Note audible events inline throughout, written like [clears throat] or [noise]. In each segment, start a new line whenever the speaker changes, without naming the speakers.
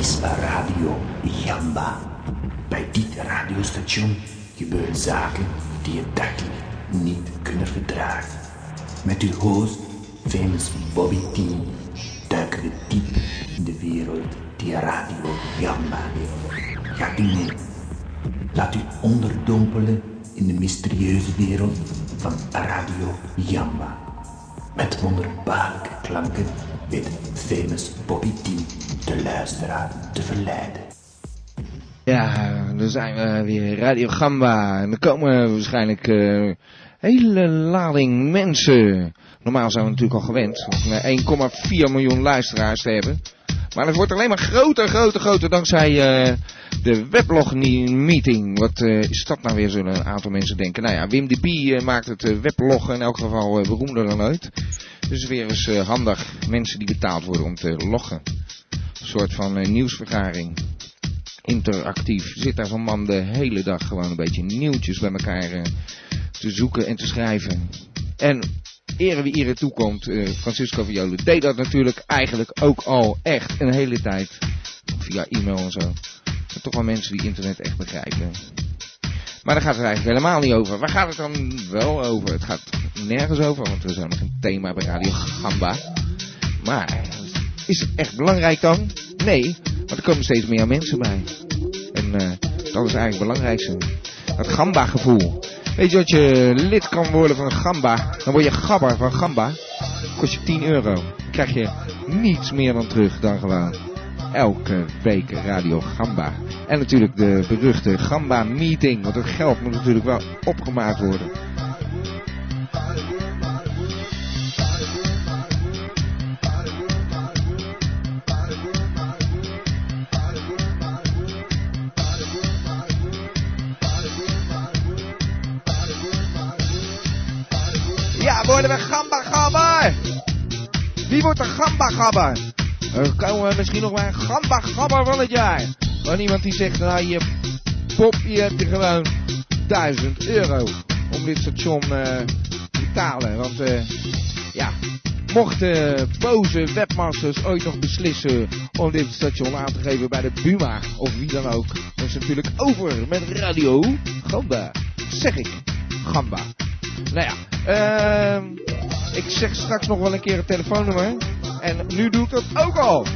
Ispa Radio Jamba. Bij dit radiostation gebeuren zaken die je dagelijks niet kunnen verdragen. Met uw host, famous Bobby T, duiken we diep in de wereld die Radio Jamba heeft. Gaat u mee. Laat u onderdompelen in de mysterieuze wereld van Radio Jamba. Met wonderbaarlijke klanken weet famous Bobby T de luisteraar te verleiden.
Ja, dan zijn we weer Radio Gamba. En er komen waarschijnlijk eh, hele lading mensen. Normaal zijn we natuurlijk al gewend om eh, 1,4 miljoen luisteraars te hebben. Maar het wordt alleen maar groter, groter, groter dankzij eh, de weblog-meeting. Wat eh, is dat nou weer, zullen een aantal mensen denken. Nou ja, Wim de Bie eh, maakt het eh, weblog in elk geval eh, beroemder dan ooit. Dus weer eens eh, handig mensen die betaald worden om te loggen. Een soort van eh, nieuwsvergaring interactief. Zit daar zo'n man de hele dag gewoon een beetje nieuwtjes bij elkaar eh, te zoeken en te schrijven. En ere wie ere toekomt, eh, Francisco Viola deed dat natuurlijk eigenlijk ook al echt een hele tijd. Via e-mail en zo. Er zijn toch wel mensen die internet echt begrijpen. Maar daar gaat het eigenlijk helemaal niet over. Waar gaat het dan wel over? Het gaat nergens over, want er is helemaal geen thema bij Radio Gamba. Maar is het echt belangrijk dan? Nee, want er komen steeds meer mensen bij. En eh, dat is eigenlijk het belangrijkste. Dat gamba-gevoel. Weet je dat je lid kan worden van gamba? Dan word je gabber van gamba. Kost je 10 euro. Dan krijg je niets meer dan terug dan gewoon. Elke week Radio Gamba. En natuurlijk de beruchte Gamba Meeting. Want het geld moet natuurlijk wel opgemaakt worden. Ja, worden we gamba gabber? Wie wordt de gamba gabber? Er komen we misschien nog maar een gamba gabber van het jaar. Maar iemand die zegt, nou je pop, je hebt er gewoon 1000 euro om dit station eh, te betalen. Want eh, ja, mochten boze webmasters ooit nog beslissen om dit station aan te geven bij de Buma of wie dan ook, dan is het natuurlijk over met radio gamba. Zeg ik, gamba. Nou ja, ehm, ik zeg straks nog wel een keer het telefoonnummer. En nu doe ik dat ook al.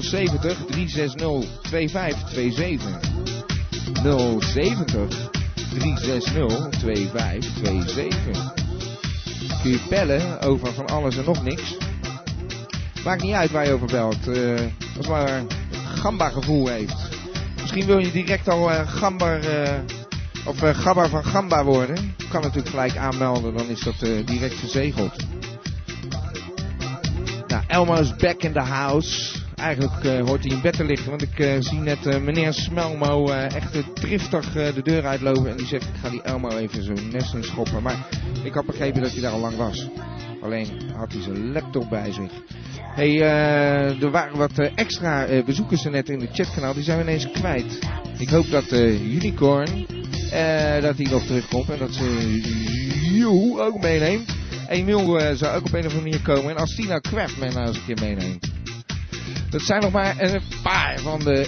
070 360 2527. 070 360 2527. Kun je bellen over van alles en nog niks. Maakt niet uit waar je over belt. eh, als maar een gamba gevoel heeft. Misschien wil je direct al eh, gambar... eh, of eh, Gabba van Gamba worden. Kan natuurlijk gelijk aanmelden, dan is dat eh, direct verzegeld. Nou, Elmo is back in the house. Eigenlijk eh, hoort hij in bed te liggen, want ik eh, zie net eh, meneer Smelmo eh, echt eh, driftig eh, de deur uitlopen. En die zegt, ik ga die Elmo even zo'n nest in schoppen. Maar ik had begrepen dat hij daar al lang was. Alleen had hij zijn laptop bij zich. hey, eh, er waren wat eh, extra eh, bezoekers er net in de chatkanaal. Die zijn we ineens kwijt. Ik hoop dat eh, Unicorn, eh, dat hij nog terugkomt. En dat ze You ook meeneemt. Emil eh, zou ook op een of andere manier komen. En als Tina Kraft mij nou eens een keer meeneemt. Dat zijn nog maar een paar van de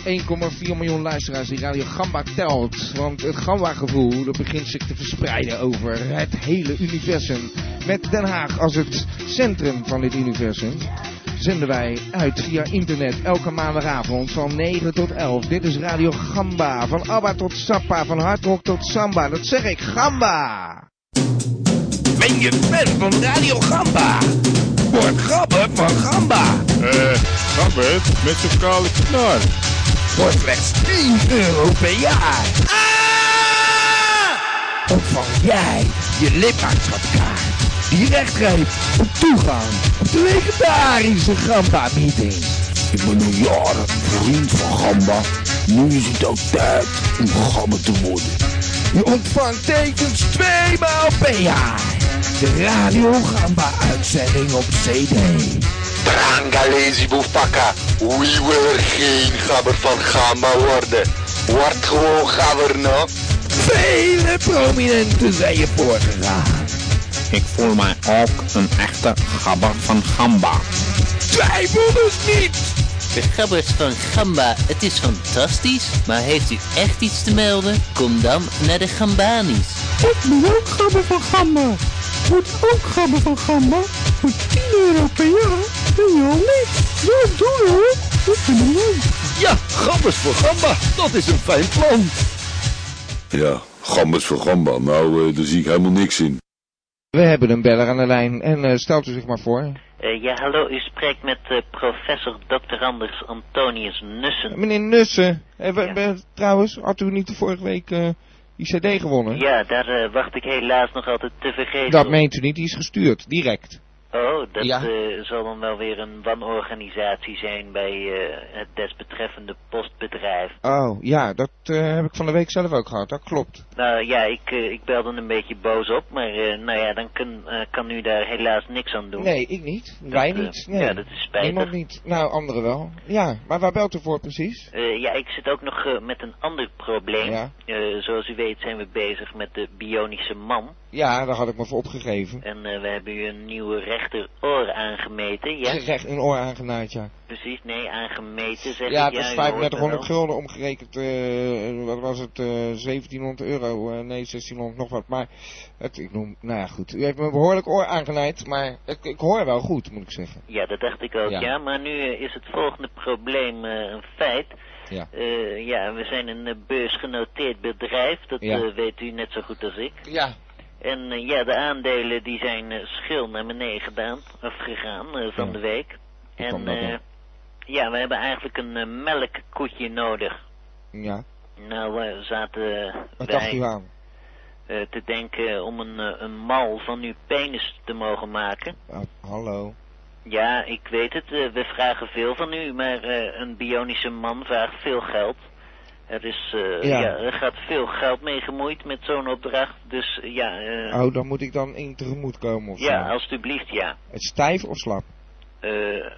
1,4 miljoen luisteraars die Radio Gamba telt. Want het Gamba-gevoel dat begint zich te verspreiden over het hele universum. Met Den Haag als het centrum van dit universum. Zenden wij uit via internet elke maandagavond van 9 tot 11. Dit is Radio Gamba. Van Abba tot Sappa, van hardrock tot Samba. Dat zeg ik, Gamba! Ben je fan van Radio Gamba? Word gabber van Gamba!
Eh, Gambert, met zijn kale knar.
Voor slechts 10 euro per jaar. Ah! Ontvang jij je lidmaatschapkaart. Direct geeft op toegang op de legendarische Gamba meeting.
Ik ben al jaren vriend van Gamba. Nu is het ook tijd om gabber te worden.
Je ontvangt tekens tweemaal per jaar.
De Radio Gamba uitzending op CD.
Trangalezi Boefakka, we willen geen gabber van Gamba worden. Word gewoon gabber, no?
Vele prominenten zijn je voorgegaan.
Ik voel mij ook een echte gabber van gamba.
Twijfel dus niet!
de gabbers van Gamba. Het is fantastisch. Maar heeft u echt iets te melden? Kom dan naar de Gambanis.
Ik ben ook gabber van Gamba. Wordt ook gabber van Gamba. Voor 10 euro per jaar. Ben je al lid? Ja, doe hoor. Ik vind het leuk.
Ja, gabbers voor gamba. Dat is een fijn plan. Ja, gambas voor gamba. Nou, eh, daar zie ik helemaal niks in.
We hebben een beller aan de lijn en eh, stelt u zich maar voor.
Eh, ja, hallo, u spreekt met eh, professor Dr. Anders Antonius Nussen.
Meneer Nussen, eh, we- we- trouwens, had u niet de vorige week eh, die cd gewonnen?
Ja, daar eh, wacht ik helaas nog altijd te vergeten.
Dat
op.
meent u niet, die is gestuurd, direct.
Oh, dat
Ja.
eh, zal dan wel weer een wanorganisatie zijn bij eh, het desbetreffende postbedrijf.
Oh, ja, dat eh, heb ik van de week zelf ook gehad, dat klopt.
Nou ja, ik, eh, ik belde een beetje boos op, maar eh, nou ja, dan kun, eh, kan u daar helaas niks aan doen.
Nee, ik niet. Wij
eh,
niet. Nee.
ja, dat is spijtig.
Niemand niet. Nou, anderen wel. Ja, maar waar belt u voor precies?
Eh, ja, ik zit ook nog eh, met een ander probleem.
Ja.
Eh, zoals u weet zijn we bezig met de bionische man.
Ja, daar had ik me voor opgegeven.
En eh, we hebben u een nieuwe rechteroor aangemeten. Ja,
Recht een oor aangenaaid, ja.
precies. Nee, aangemeten zeg
Ja,
ik.
het was
u hoort me
3500
wel.
gulden omgerekend. eh, wat was het? eh, 1700 euro. eh, nee, 1600 nog wat. Maar het, ik noem, nou ja, goed. U heeft me een behoorlijk oor aangenaaid. Maar ik, ik hoor wel goed, moet ik zeggen.
Ja, dat dacht ik ook,
Ja.
ja. Maar nu eh, is het volgende probleem eh, een feit.
Ja.
Eh, ja, we zijn een eh, beursgenoteerd bedrijf. Dat
Ja.
eh, weet u net zo goed als ik.
Ja.
En eh, ja, de aandelen die zijn eh, schil naar beneden gedaan, of gegaan eh, van
Ja.
de week.
kan
En
dat,
eh,
ja.
ja, we hebben eigenlijk een eh, melkkoetje nodig.
Ja.
Nou, eh, zaten
Wat dacht
wij
u aan?
eh, te denken om een, eh, een mal van uw penis te mogen maken.
Ah, hallo.
Ja, ik weet het. eh, we vragen veel van u, maar eh, een bionische man vraagt veel geld. Er is, eh,
Ja.
ja. er gaat veel geld mee gemoeid met zo'n opdracht. Dus eh, ja, eh,
Oh, dan moet ik dan in tegemoet komen of
ja, oh.
zo.
alstublieft, ja.
Het stijf of slap?
Eh, eh,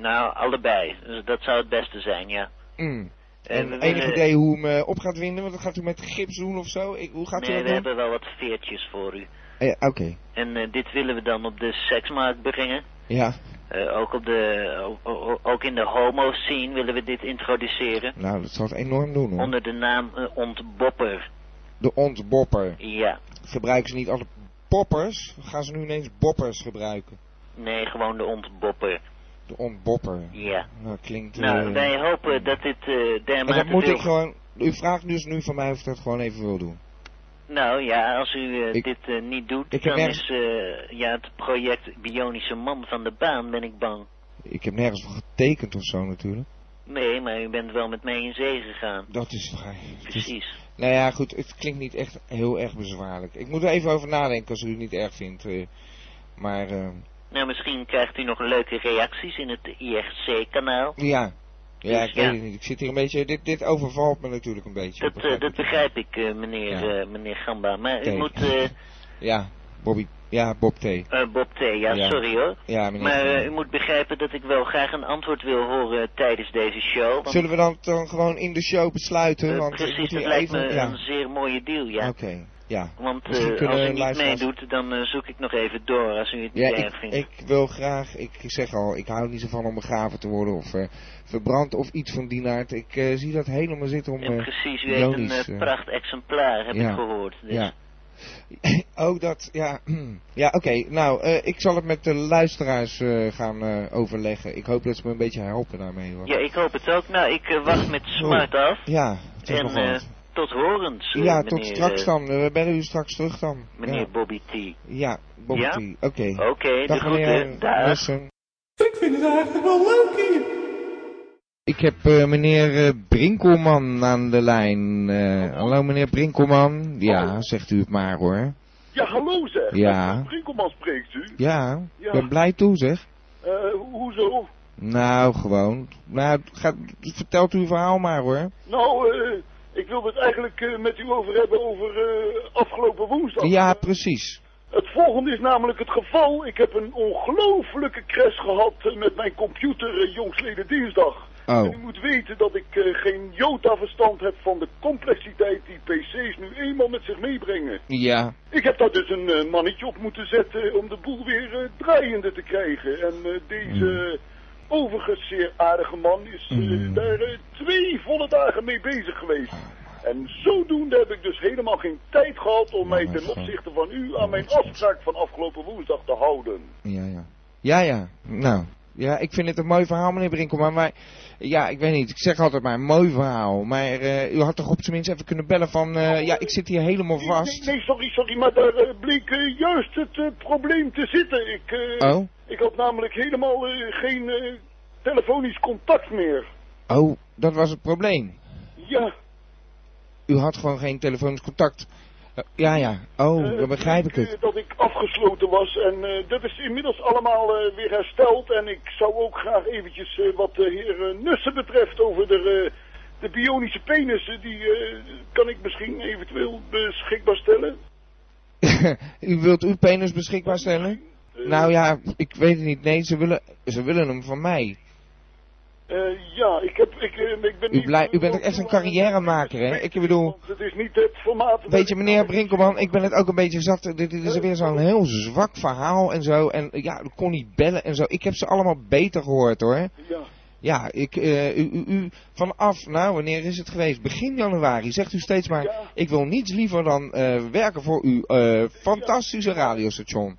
nou, allebei. Dus dat zou het beste zijn, ja.
Mm.
En
En
Eh, we
enig
willen-
idee hoe u me op gaat winden? Want dat gaat u met gips doen of zo? Ik, hoe gaat u dat
nee, we
doen?
hebben wel wat veertjes voor u.
Eh, Oké.
En eh, dit willen we dan op de seksmarkt brengen.
Ja.
Eh, ook, op de, o- o- ook in de homo-scene willen we dit introduceren.
Nou, dat zal het enorm doen hoor.
Onder de naam eh, Ontbopper.
De ontbopper.
Ja.
Gebruiken ze niet alle poppers? Gaan ze nu ineens boppers gebruiken?
Nee, gewoon de Ontbopper.
De ontbopper.
Ja.
Nou, klinkt... eh,
Mm. Nou, wij hopen dat dit eh
en
dermate
dat moet
veel...
ik gewoon... U vraagt dus nu van mij of ik dat gewoon even wil doen.
Nou ja, als u eh,
Ik-
dit eh, niet doet,
ik heb
dan
nergens-
is eh, ja, het project Bionische Man van de baan, ben ik bang.
Ik heb nergens voor getekend of zo natuurlijk.
Nee, maar u bent wel met mij in zee gegaan.
Dat is waar. Het is-
Precies.
Nou ja, goed. Het klinkt niet echt heel erg bezwaarlijk. Ik moet er even over nadenken als u het niet erg vindt. eh. maar, eh,
Nou, misschien krijgt u nog leuke reacties in het IRC-kanaal.
ja. Ja,
Dus
ik
ja.
weet het niet. Ik zit hier een beetje... Dit, dit overvalt me natuurlijk een beetje.
Dat, eh,
begrijp
dat
ik.
begrijp ik, eh, meneer,
Ja.
eh, meneer Gamba. Maar u
Oké.
moet... eh,
Ja, Bobby... Ja, Bob T.
eh, Bob T, ja,
Ja.
sorry hoor.
Ja, meneer.
Maar
Van-
eh, u moet begrijpen dat ik wel graag een antwoord wil horen eh, tijdens deze show. Want,
Zullen we dan, dan gewoon in de show besluiten?
eh,
want ik moet
precies, dat
hier
lijkt
even...
me
ja.
een zeer mooie deal, ja.
Oké, ja.
Want
Misschien
eh,
kunnen
als u niet
luisteraars-
meedoet, dan eh, zoek ik nog even door als u het
Ja,
niet erg
ik,
vindt.
ik wil graag, ik zeg al, ik hou niet zo van om begraven te worden of eh, verbrand of iets van die aard. Ik eh, zie dat helemaal zitten om...
En
eh,
precies, u heeft een
ironisch,
eh,
eh,
pracht exemplaar, heb
ja.
ik gehoord. Dus,
ja. [laughs] oh, dat, ja. [clears throat] ja, oké. Nou, eh, ik zal het met de luisteraars eh, gaan eh, overleggen. Ik hoop dat ze me een beetje helpen daarmee. Want...
Ja, ik hoop het ook. Nou, ik eh, wacht met smart af.
Ja, het is
En
nog
eh,
wat.
tot horens, eh,
ja,
meneer,
tot straks
eh,
dan. We bellen u straks terug dan.
meneer
Ja,
Bobby T.
ja Bobby
Ja?
T. Oké.
Oké, de
Dag meneer
groeten. Dag.
Russen.
Ik vind het eigenlijk wel leuk hier.
Ik heb eh, meneer eh, Brinkelman aan de lijn. Eh, hallo meneer Brinkelman. Ja,
Hallo.
zegt u het maar hoor.
Ja, hallo zeg.
Ja.
Brinkelman spreekt u.
Ja, ik
Ja.
ben blij toe zeg.
Eh, ho- hoezo?
Nou, gewoon. Nou, gaat, vertelt u uw verhaal maar hoor.
Nou, eh, ik wilde het eigenlijk eh, met u over hebben over eh, afgelopen woensdag.
Ja, precies.
Het volgende is namelijk het geval. Ik heb een ongelooflijke crash gehad eh, met mijn computer eh, jongstleden dinsdag. En
Oh,
u moet weten dat ik eh, geen jota verstand heb van de complexiteit die pc's nu eenmaal met zich meebrengen.
ja.
Ik heb daar dus een eh, mannetje op moeten zetten om de boel weer eh, draaiende te krijgen. En eh, deze
overigens zeer aardige man is eh, daar eh, twee volle dagen mee bezig geweest. En zodoende heb ik dus helemaal geen tijd gehad om mij ten opzichte van u aan mijn afspraak van afgelopen woensdag te houden.
Ja, ja. Ja, ja. Nou. Ja, ik vind het een mooi verhaal, meneer Brinkelman. Maar ja, ik weet niet. Ik zeg altijd maar een mooi verhaal. Maar eh, u had toch op zijn minst even kunnen bellen van... eh, ja, ik zit hier helemaal vast.
Nee, nee, sorry, sorry, maar daar eh, bleek eh, juist het eh, probleem te zitten. Ik, eh,
Oh.
ik had namelijk helemaal eh, geen eh, telefonisch contact meer.
Oh, dat was het probleem.
Ja,
U had gewoon geen telefonisch contact. Eh, ja, ja. Oh,
eh,
dan begrijp ik
bleek,
het.
eh, dat ik afgesloten was en eh, dat is inmiddels allemaal eh, weer hersteld. En ik zou ook graag eventjes eh, wat de heer eh, Nussen betreft over de, eh, de bionische penissen, die eh, kan ik misschien eventueel beschikbaar stellen.
[laughs] u wilt uw penis beschikbaar stellen?
Eh,
Nou ja, ik weet het niet. Nee, ze willen, ze willen hem van mij.
Eh, ja, ik, heb, ik, eh, ik ben
U,
niet-
blij, u bent ook echt een carrièremaker, hè? Ik bedoel...
Want het is niet het formaat. dat
Weet je,
ik-
meneer Brinkelman, ik ben het ook een beetje zat. Dit, dit is weer zo'n heel zwak verhaal en zo. En eh, ja, ik kon niet bellen en zo. Ik heb ze allemaal beter gehoord, hoor.
Ja.
Ja, ik, eh, u, u, u, vanaf, nou, wanneer is het geweest? Begin januari zegt u steeds maar... Ik wil niets liever dan eh, werken voor uw eh, fantastische radiostation.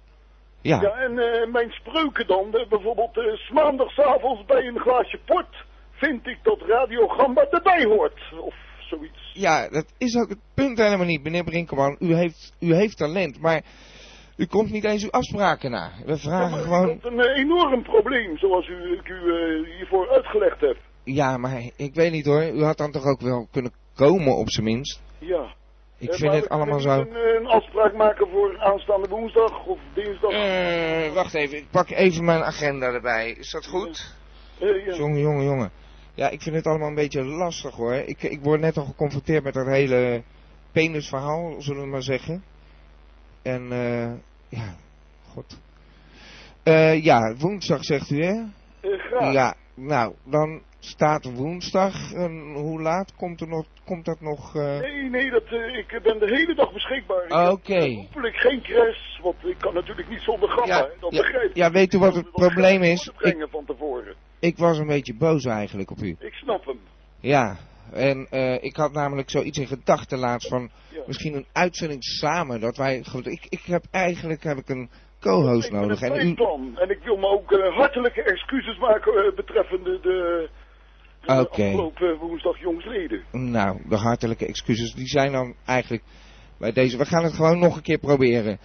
Ja.
Ja,
en eh, mijn spreuken dan, eh, bijvoorbeeld eh, 's maandagsavonds bij een glaasje port, vind ik dat Radio Gamba erbij hoort. Of zoiets.
ja, dat is ook het punt helemaal niet, meneer Brinkelman. U heeft, u heeft talent, maar u komt niet eens uw afspraken na. We vragen gewoon...
Dat is een eh, enorm probleem, zoals u, ik u eh, hiervoor uitgelegd heb.
Ja, maar ik weet niet hoor. U had dan toch ook wel kunnen komen op zijn minst.
Ja.
Ik
Eh,
vind
maar
het
we kunnen
allemaal
niet
zo.
Een, eh, een afspraak maken voor aanstaande woensdag of dinsdag.
Eh, wacht even. Ik pak even mijn agenda erbij. Is dat goed?
Eh, ja.
Jongen, jongen, jongen. Ja, ik vind het allemaal een beetje lastig hoor. Ik, ik word net al geconfronteerd met dat hele penisverhaal, zullen we maar zeggen. En eh, ja, god. Eh, ja, woensdag zegt u hè?
Eh, graag.
Ja, nou, dan staat woensdag. En hoe laat komt, er nog, komt dat nog... eh,
Nee, nee, dat, eh, ik ben de hele dag beschikbaar. Ik
Oké.
heb, eh, Hopelijk geen crash, want ik kan natuurlijk niet zonder gamba,
Ja,
hè, dat
ja,
begrijp ik.
ja, weet u wat
Ik
het
wil dat
probleem
geld
is?
terugbrengen van tevoren.
Ik was een beetje boos eigenlijk op u.
Ik snap hem.
Ja, en eh, ik had namelijk zoiets in gedachten laatst van misschien een uitzending samen. Dat wij, gewoon- ik, ik heb eigenlijk heb ik een co-host nodig.
Mijn
En u,
plan. En ik wil me ook eh, hartelijke excuses maken eh, betreffende de, de
Oké.
afgelopen woensdag jongsleden.
nou, de hartelijke excuses, die zijn dan eigenlijk bij deze. We gaan het gewoon nog een keer proberen.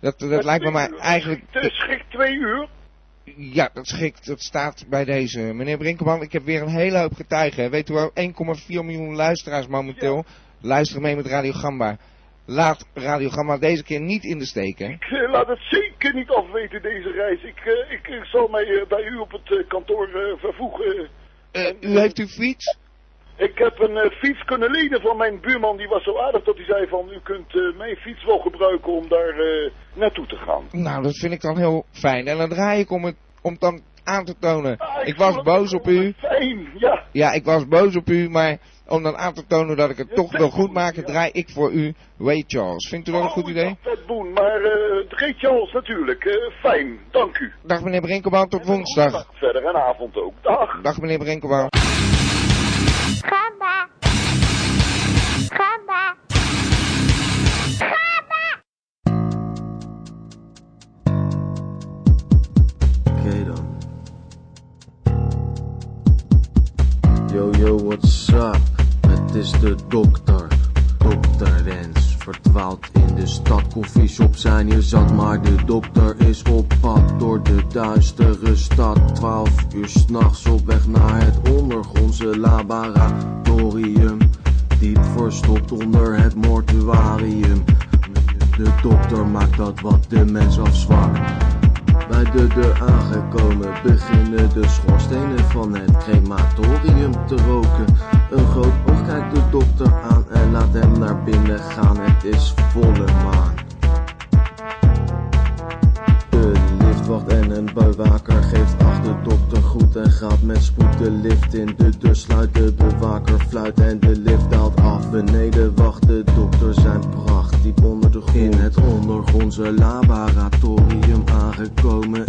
Dat, dat lijkt me maar eigenlijk...
Het is schrik twee uur.
Ja, dat schikt. Dat staat bij deze. Meneer Brinkelman, ik heb weer een hele hoop getuigen. Weet u wel, 1,4 miljoen luisteraars momenteel. Luisteren mee met Radio Gamba. Laat Radio Gamba deze keer niet in de steek, hè?
Ik eh, laat het zeker niet afweten deze reis. Ik, eh, ik, eh, zal mij eh, bij u op het eh, kantoor eh, vervoegen.
Eh, u heeft uw fiets?
Ik heb een eh, fiets kunnen lenen van mijn buurman. Die was zo aardig dat hij zei van... U kunt eh, mijn fiets wel gebruiken om daar eh, naartoe te gaan.
Nou, dat vind ik dan heel fijn. En dan draai ik om het, om het dan aan te tonen.
Ah,
ik
ik
was
vond
boos op u.
Fijn, ja.
Ja, ik was boos op u, maar om dan aan te tonen dat ik het
Ja,
toch wil
dat
goed
goed,
maken,
ja. Oh,
draai ik voor u Ray Charles. Vindt u dat een goed idee?
Dat boen, maar eh Greet Charles natuurlijk. eh, fijn, dank u.
Dag meneer Brinkelman, tot woensdag.
Verder en avond ook. Dag.
Dag meneer Brinkelman.
Gamba. Gamba.
Oké dan. Yo yo, what's up? Het is de dokter, dokter Rens. Verdwaald in de stad, koffieshops zijn je zat. Maar de dokter is op pad door de duistere stad. Twaalf uur s'nachts op weg naar het ondergrondse laboratorium. Diep verstopt onder het mortuarium. De dokter maakt dat wat de mens afzwakt. Bij de deur aangekomen beginnen de schoorstenen van het crematorium te roken. Een groot oog kijkt de dokter aan en laat hem naar binnen gaan. Het is volle maan. De liftwacht en een bewaker geeft acht. De dokter groet en gaat met spoed de lift in. De deur sluit, de bewaker fluit en de lift daalt af. Beneden wacht de dokter zijn pracht diep onder de grond. In het ondergrondse laboratorium aangekomen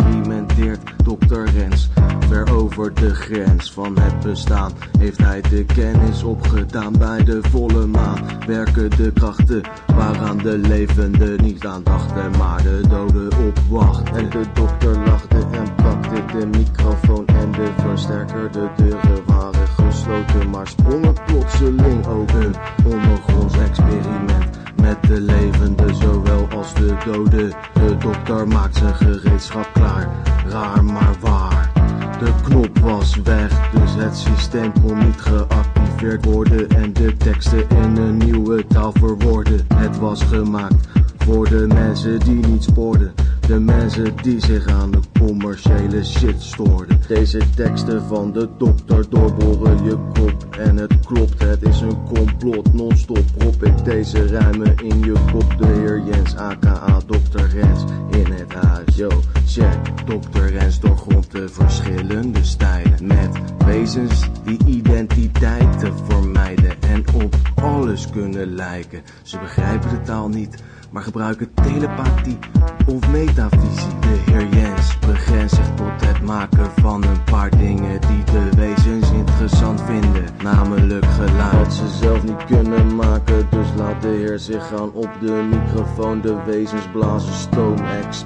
experimenteert dokter Rens. Ver over de grens van het bestaan heeft hij de kennis opgedaan. Bij de volle maan werken de krachten waaraan de levenden niet aan dachten, maar de doden opwachten. En de dokter lachte en pakte de microfoon en de versterker. De deuren waren gesloten, maar sprongen plotseling open. Ondergronds experiment met de levenden, zowel als de doden. De dokter maakt zijn gereedschap klaar, raar maar waar. De knop was weg, dus het systeem kon niet geactiveerd worden en de teksten in een nieuwe taal verwoorden. Het was gemaakt voor de mensen die niet spoorden, de mensen die zich aan de commerciële shit stoorden. Deze teksten van de dokter doorboren je kop en het klopt, het is een complot. Non-stop prop ik deze rijmen in je kop, de heer Jens aka dokter Rens in het huis. Yo, check, dokter Rens doorgrondt de verschillende stijlen met wezens die identiteiten vermijden en op alles kunnen lijken. Ze begrijpen de taal niet, maar gebruiken telepathie of metafysie. De heer Jens begrenst zich tot het maken van een paar dingen die de wezens interessant vinden, namelijk geluid. Wat ze zelf niet kunnen maken, dus laat de heer zich gaan op de microfoon. De wezens blazen stoom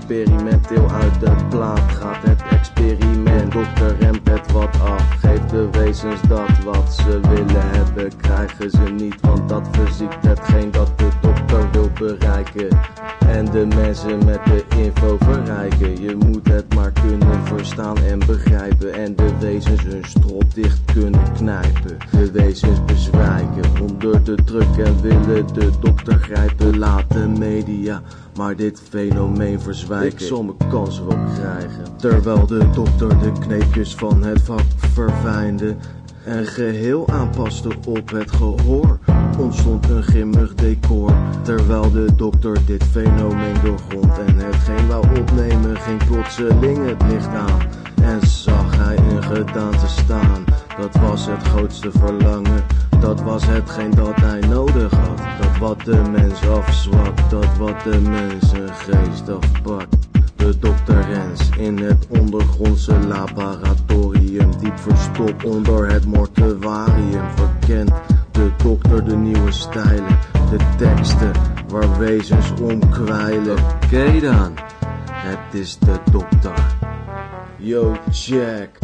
experimenteel uit de plaat. Gaat het experiment, dokter remt het wat af. Geeft de wezens dat wat ze willen hebben, krijgen ze niet, want dat verziekt hetgeen dat de dokter wil bereiken. En de mensen met de info verrijken. Je moet het maar kunnen verstaan en begrijpen. En de wezens hun strop dicht kunnen knijpen. De wezens bezwijken onder de druk en willen de dokter grijpen. Laat de media maar dit fenomeen verzwijken. Ik zal mijn kansen wel krijgen. Terwijl de dokter de kneepjes van het vak verfijnde. En geheel aanpaste op het gehoor ontstond een grimmig decor. Terwijl de dokter dit fenomeen doorgrond en hetgeen wou opnemen, ging plotseling het licht aan. En zag hij een gedaante staan. Dat was het grootste verlangen. Dat was hetgeen dat hij nodig had. Dat wat de mens afzwakt, dat wat de mens een geest afpakt. De dokter Rens in het ondergrondse laboratorium, diep verstopt onder het mortuarium, verkent de dokter de nieuwe stijlen, de teksten waar wezens om kwijlen. Oké dan, het is de dokter. Yo, check.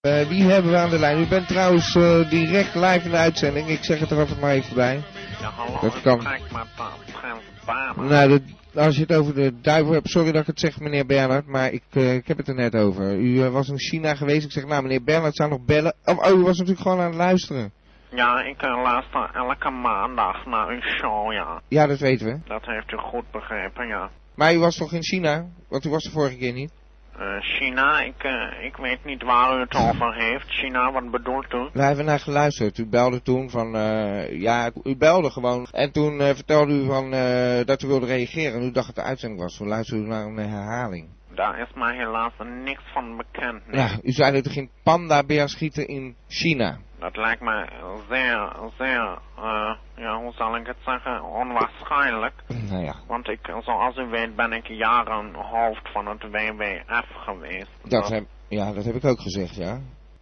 Eh, wie hebben we aan de lijn? U bent trouwens eh, direct live in de uitzending. Ik zeg het er altijd maar even bij.
Ja, hallo,
Dat kan.
Kijk maar, dat gaan verbamen.
Nou, dat- als je het over de duivel hebt, sorry dat ik het zeg, meneer Bernhard, maar ik, eh, ik heb het er net over. U eh, was in China geweest, ik zeg, nou, meneer Bernhard zou nog bellen. Oh, oh, u was natuurlijk gewoon aan het luisteren.
Ja, ik eh, luister elke maandag naar uw show, ja.
Ja, dat weten we.
Dat heeft u goed begrepen, ja.
Maar u was toch in China? Want u was de vorige keer niet.
Eh, China, ik, eh, ik weet niet waar u het over heeft. China, wat bedoelt u?
We hebben naar geluisterd. U belde toen van, eh, ja, u belde gewoon. En toen eh, vertelde u van, eh, dat u wilde reageren. En u dacht dat de uitzending was. We luisterden naar een herhaling.
Daar is mij helaas niks van bekend. nee.
Ja, u zei dat u ging pandabeer schieten in China.
Dat lijkt me zeer, zeer, eh, ja, hoe zal ik het zeggen, onwaarschijnlijk.
Nou ja,
Want ik, zoals u weet, ben ik jaren hoofd van het WWF geweest.
dat, heb, ja, dat heb ik ook gezegd, ja.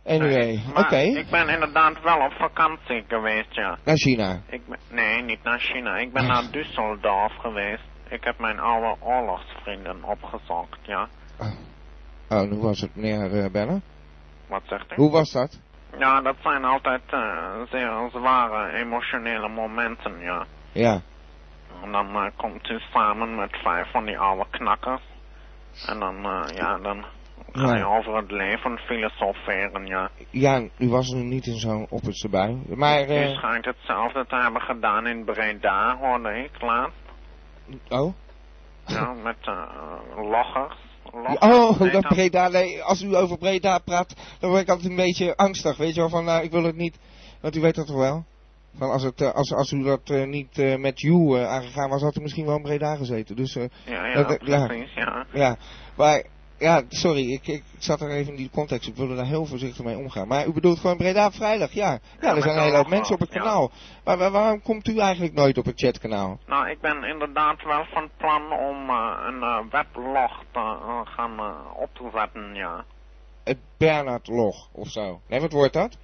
Anyway, oké.
Oh. Maar ik ben inderdaad wel op vakantie geweest, ja.
Naar China.
Ik ben, nee, niet naar China. Ik ben naar Düsseldorf geweest. Ik heb mijn oude oorlogsvrienden opgezocht, ja.
Oh, hoe was het, meneer eh, Bellen?
Wat zegt u?
Hoe was dat?
Ja, dat zijn altijd eh, zeer zware emotionele momenten, ja.
Ja.
En dan eh, komt u samen met vijf van die oude knakkers. En dan, eh, ja, dan ga je
Ja.
over het leven filosoferen, ja.
Ja, u was nu niet in zo'n opperste bui. Maar,
U
eh,
schijnt hetzelfde te hebben gedaan in Breda, hoorde ik laatst.
oh.
Ja, met eh loggers. Loggers,
Oh,
heet
dat Breda, nee, als u over Breda praat, dan word ik altijd een beetje angstig, weet je wel, van, nou, ik wil het niet, want u weet dat toch wel? Van als, het, eh, als, als u dat eh, niet eh, met you eh, aangegaan was, had u misschien wel in Breda gezeten. Dus, eh,
Ja, ja,
dat- eh,
precies, ja.
ja. Maar, ja, sorry, ik, ik zat er even in die context. Ik wilde daar heel voorzichtig mee omgaan. Maar u bedoelt gewoon Breda op vrijdag, ja. Ja, er
met
zijn een
de
hele hoop
logo,
mensen op het
ja.
kanaal. Maar wa- waarom komt u eigenlijk nooit op het chatkanaal?
Nou, ik ben inderdaad wel van plan om eh, een eh, weblog te eh, gaan eh, op te zetten, ja.
Het Bernhard Log of zo. Nee, wat wordt dat?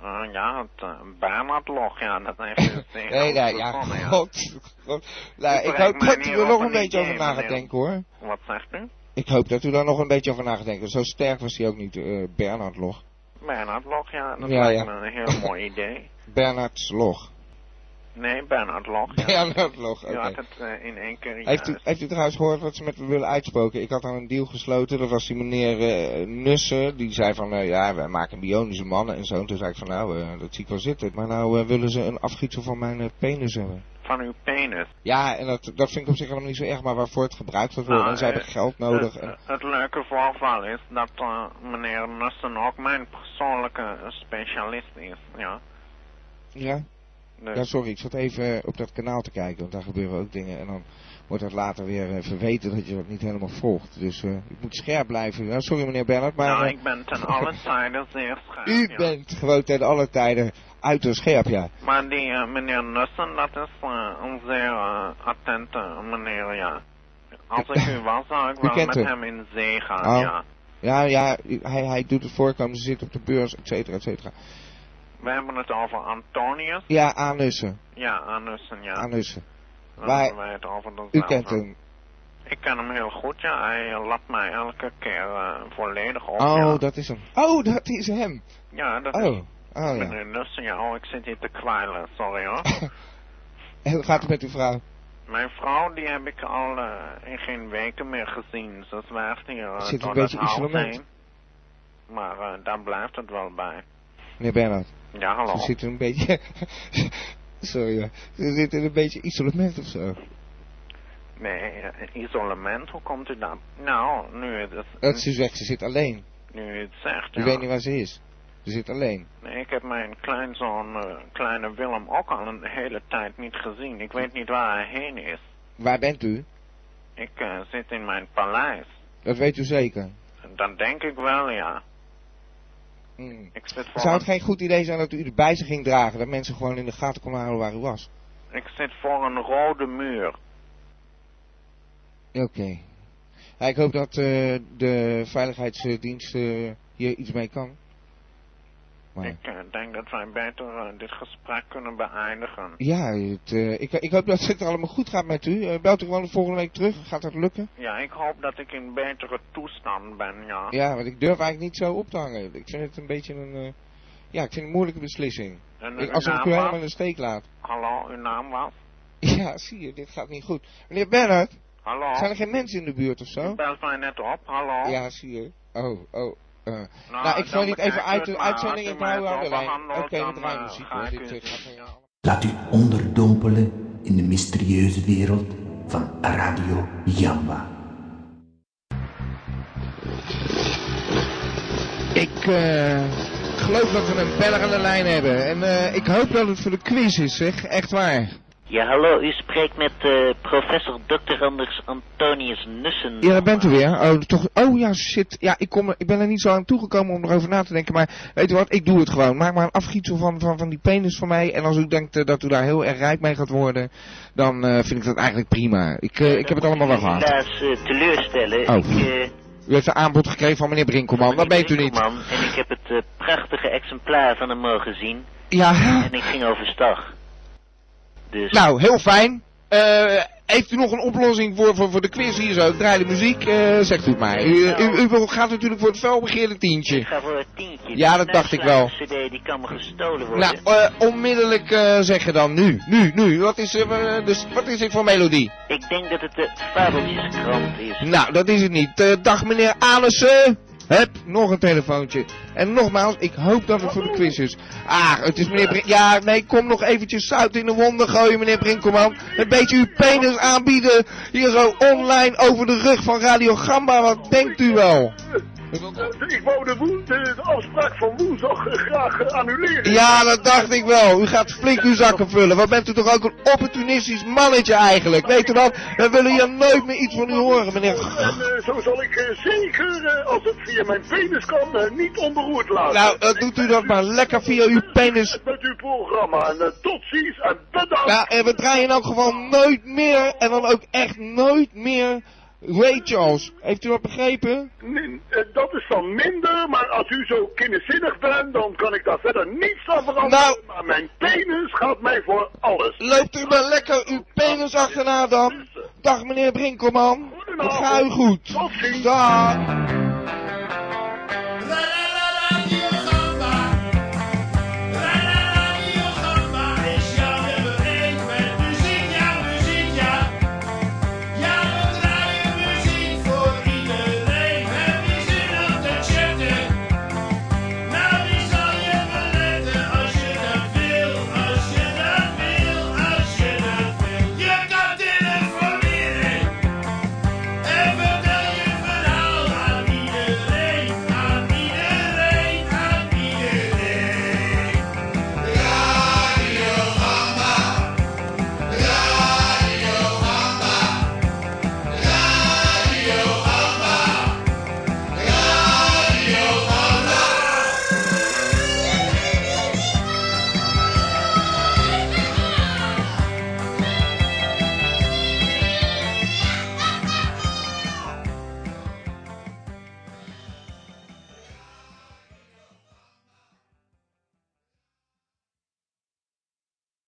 Eh, ja, het eh, Bernhard-log, ja, dat
[laughs]
heeft dus tegen
Nee, nee,
ons
ja, [laughs]
begonnen,
god. god. Nou, ik
bereik
hoop
me
dat
in
u
ieder
er nog
geval
een
niet
beetje over
even,
na gaat
nee.
denken hoor.
Wat zegt u?
Ik hoop dat u daar nog een beetje over na gaat denken. Zo sterk was hij ook niet, eh Bernhard Log.
Bernhard-log, ja, dat
Ja,
lijkt
ja.
me een heel mooi idee.
Bernhard Log.
Nee, Bernhard-log,
[laughs]
ja.
Bernhard-log,
Je
oké.
had het eh, in één keer
Heeft u,
juist.
heeft u trouwens gehoord wat ze met me willen uitspoken? Ik had aan een deal gesloten. Dat was die meneer eh, Nussen. Die zei van, eh, ja, wij maken bionische mannen en zo. En toen zei ik van, nou, eh, dat zie ik wel zitten. Maar nou eh, willen ze een afgietsel van mijn eh, penis hebben.
Van uw penis.
Ja, en dat, dat vind ik op zich helemaal niet zo erg. Maar waarvoor het gebruikt wordt.
Nou,
en zij
eh,
hebben geld nodig.
Het,
en-
het leuke voorval is dat eh, meneer Nussen ook mijn persoonlijke specialist is, ja.
ja?
Dus,
Ja, sorry, ik zat even eh, op dat kanaal te kijken, want daar gebeuren ook dingen. En dan wordt dat later weer eh, verweten dat je dat niet helemaal volgt. Dus eh ik moet scherp blijven. Nou, sorry meneer Bernhard, maar
nou,
eh,
ik
[laughs]
ben ten alle tijden zeer scherp,
u
ja.
bent gewoon ten alle tijden uiterst scherp, ja.
Maar die eh, meneer Nussen, dat is eh, een zeer eh, attente meneer, ja.
[laughs]
Als ik u was, zou ik
U
wel
kent
met
hem.
hem in zee gaan,
Oh.
ja.
Ja, ja, u- hij, hij doet het voorkomen, ze zit op de beurs, et cetera, et cetera.
We hebben het over Antonius.
Ja, aanussen,
Ja, Anussen, ja. Nou,
aanussen.
Dan
Wij-
hebben wij het over
U
dezelfde.
kent hem.
Ik ken hem heel goed, ja. Hij eh, lapt mij elke keer eh, volledig op. ja.
Oh, dat is hem. Oh, dat is hem.
Ja, dat is...
Oh, oh ja.
Meneer Nussen, ja. Oh, ik zit hier te kwijlen, sorry
[laughs]
hoor.
En hoe gaat het met uw vrouw?
Mijn vrouw, die heb ik al eh, in geen weken meer gezien. Ze zwerft hier eh,
Zit een
door
beetje
het hout
isolement.
heen. Maar eh, daar blijft het wel bij.
Meneer Bernhard.
Ja, hallo.
Ze zitten een beetje... [laughs] Sorry hoor. Ze zitten in een beetje isolement of zo.
Nee, eh, isolement, hoe komt u dat? Nou, nu het,
Dat ze zegt, ze zit alleen.
nu u het zegt,
Je
ja.
weet niet waar ze is. Ze zit alleen.
Nee, ik heb mijn kleinzoon, eh, kleine Willem, ook al een hele tijd niet gezien. Ik weet niet waar hij heen is.
Waar bent u?
Ik eh, zit in mijn paleis.
Dat weet u zeker.
Dan denk ik wel, ja.
Hmm.
Ik zit voor,
Zou het
een,
geen goed idee zijn dat u erbij bij zich ging dragen? Dat mensen gewoon in de gaten konden houden waar u was?
ik zit voor een rode muur.
Oké. Ja, ik hoop dat eh, de veiligheidsdienst eh, hier iets mee kan. Maar-
Ik eh, denk dat wij beter eh, dit gesprek kunnen beëindigen.
Ja, het, eh, ik, ik hoop dat het allemaal goed gaat met u. Eh, belt u gewoon volgende week terug. Gaat dat lukken?
Ja, ik hoop dat ik in betere toestand ben, ja.
Ja, want ik durf eigenlijk niet zo op te hangen. Ik vind het een beetje een... eh, ja, ik vind het een moeilijke beslissing.
En
Ik,
uw
alsof ik
naam
u
was?
helemaal in de steek laat. [laughs]
Hallo, uw naam was?
Ja, zie je, dit gaat niet goed. Meneer Bernhard,
Hallo?
zijn er geen mensen in de buurt of zo?
U belt mij net op, hallo?
Ja, zie je. Oh, oh. eh. nou, ik
dan
zal dit even
bekijk
uit
het
de
maar. Als
uitzending
u
en
mij
houden
het
aan de lijn.
afhandelt,
Oké, we
dan,
draaien
eh,
muziek
ga
hoor.
ik
Dit
u
eh, gaat geen-
Laat u onderdompelen in de mysterieuze wereld van Radio Jamba.
Ik eh, geloof dat we een beller aan de lijn hebben. En eh, ik hoop dat het voor de quiz is, zeg. Echt waar.
Ja, hallo, u spreekt met eh, professor Dr. Anders Antonius Nussen.
Ja, daar bent u weer. Oh, toch, oh ja, shit. Ja, ik, kom, er- ik ben er niet zo aan toegekomen om erover na te denken. Maar weet u wat, ik doe het gewoon. Maak maar een afgietsel van, van, van die penis van mij. En als u denkt eh, dat u daar heel erg rijk mee gaat worden, dan eh, vind ik dat eigenlijk prima. Ik, eh, ik heb het allemaal wel gehad.
Helaas eh, teleurstellen.
Oh.
Ik, eh,
U heeft een aanbod gekregen van meneer Brinkelman. Dat weet u niet.
Winkelman, en ik heb het eh, prachtige exemplaar van hem mogen zien.
Ja,
En ik ging overstag. Dus,
nou, heel fijn. Eh, heeft u nog een oplossing voor, voor, voor de quiz hier zo? Ik draai de muziek, eh, zegt u het maar. U, u, u gaat natuurlijk voor het felbegeerde tientje.
ik ga voor het tientje.
Ja,
Die
dat dacht ik wel.
CD die kan me gestolen worden.
Nou, eh, onmiddellijk eh, zeggen dan nu. Nu, nu. Wat is, eh, eh, dus, wat is dit voor melodie?
Ik denk dat het de fabeltjeskrant is.
Nou, dat is het niet. Eh, dag meneer Anussen. Heb nog een telefoontje. En nogmaals, ik hoop dat het voor de quiz is. Ah, het is meneer Brink. Ja, nee, kom nog eventjes zout in de wonden gooien, meneer Brinkelman. Een beetje uw penis aanbieden. Hier zo online over de rug van Radio Gamba. Wat denkt u wel?
Eh, Ik wou de, woen, de, de afspraak van woensdag eh, graag eh, annuleren.
Ja, dat dacht ik wel. U gaat flink uw zakken vullen. Wat bent u toch ook een opportunistisch mannetje eigenlijk? Weet u dat? We willen hier nooit meer iets van u horen, meneer.
En eh, zo zal ik eh, zeker, eh, als het via mijn penis kan, eh, niet onberoerd laten.
Nou, eh, doet u dat maar lekker via uw penis.
Met uw programma. En eh, tot ziens en bedankt.
Ja, en we draaien ook gewoon nooit meer. En dan ook echt nooit meer. Ray Charles. Heeft u dat begrepen?
Min- eh, dat is dan minder, maar als u zo kinderzinnig bent, dan kan ik daar verder niets aan veranderen.
Nou-
maar mijn penis gaat mij voor alles.
Loopt u maar lekker uw penis achterna dan. Dag meneer Brinkelman. Het gaat u goed. Dag.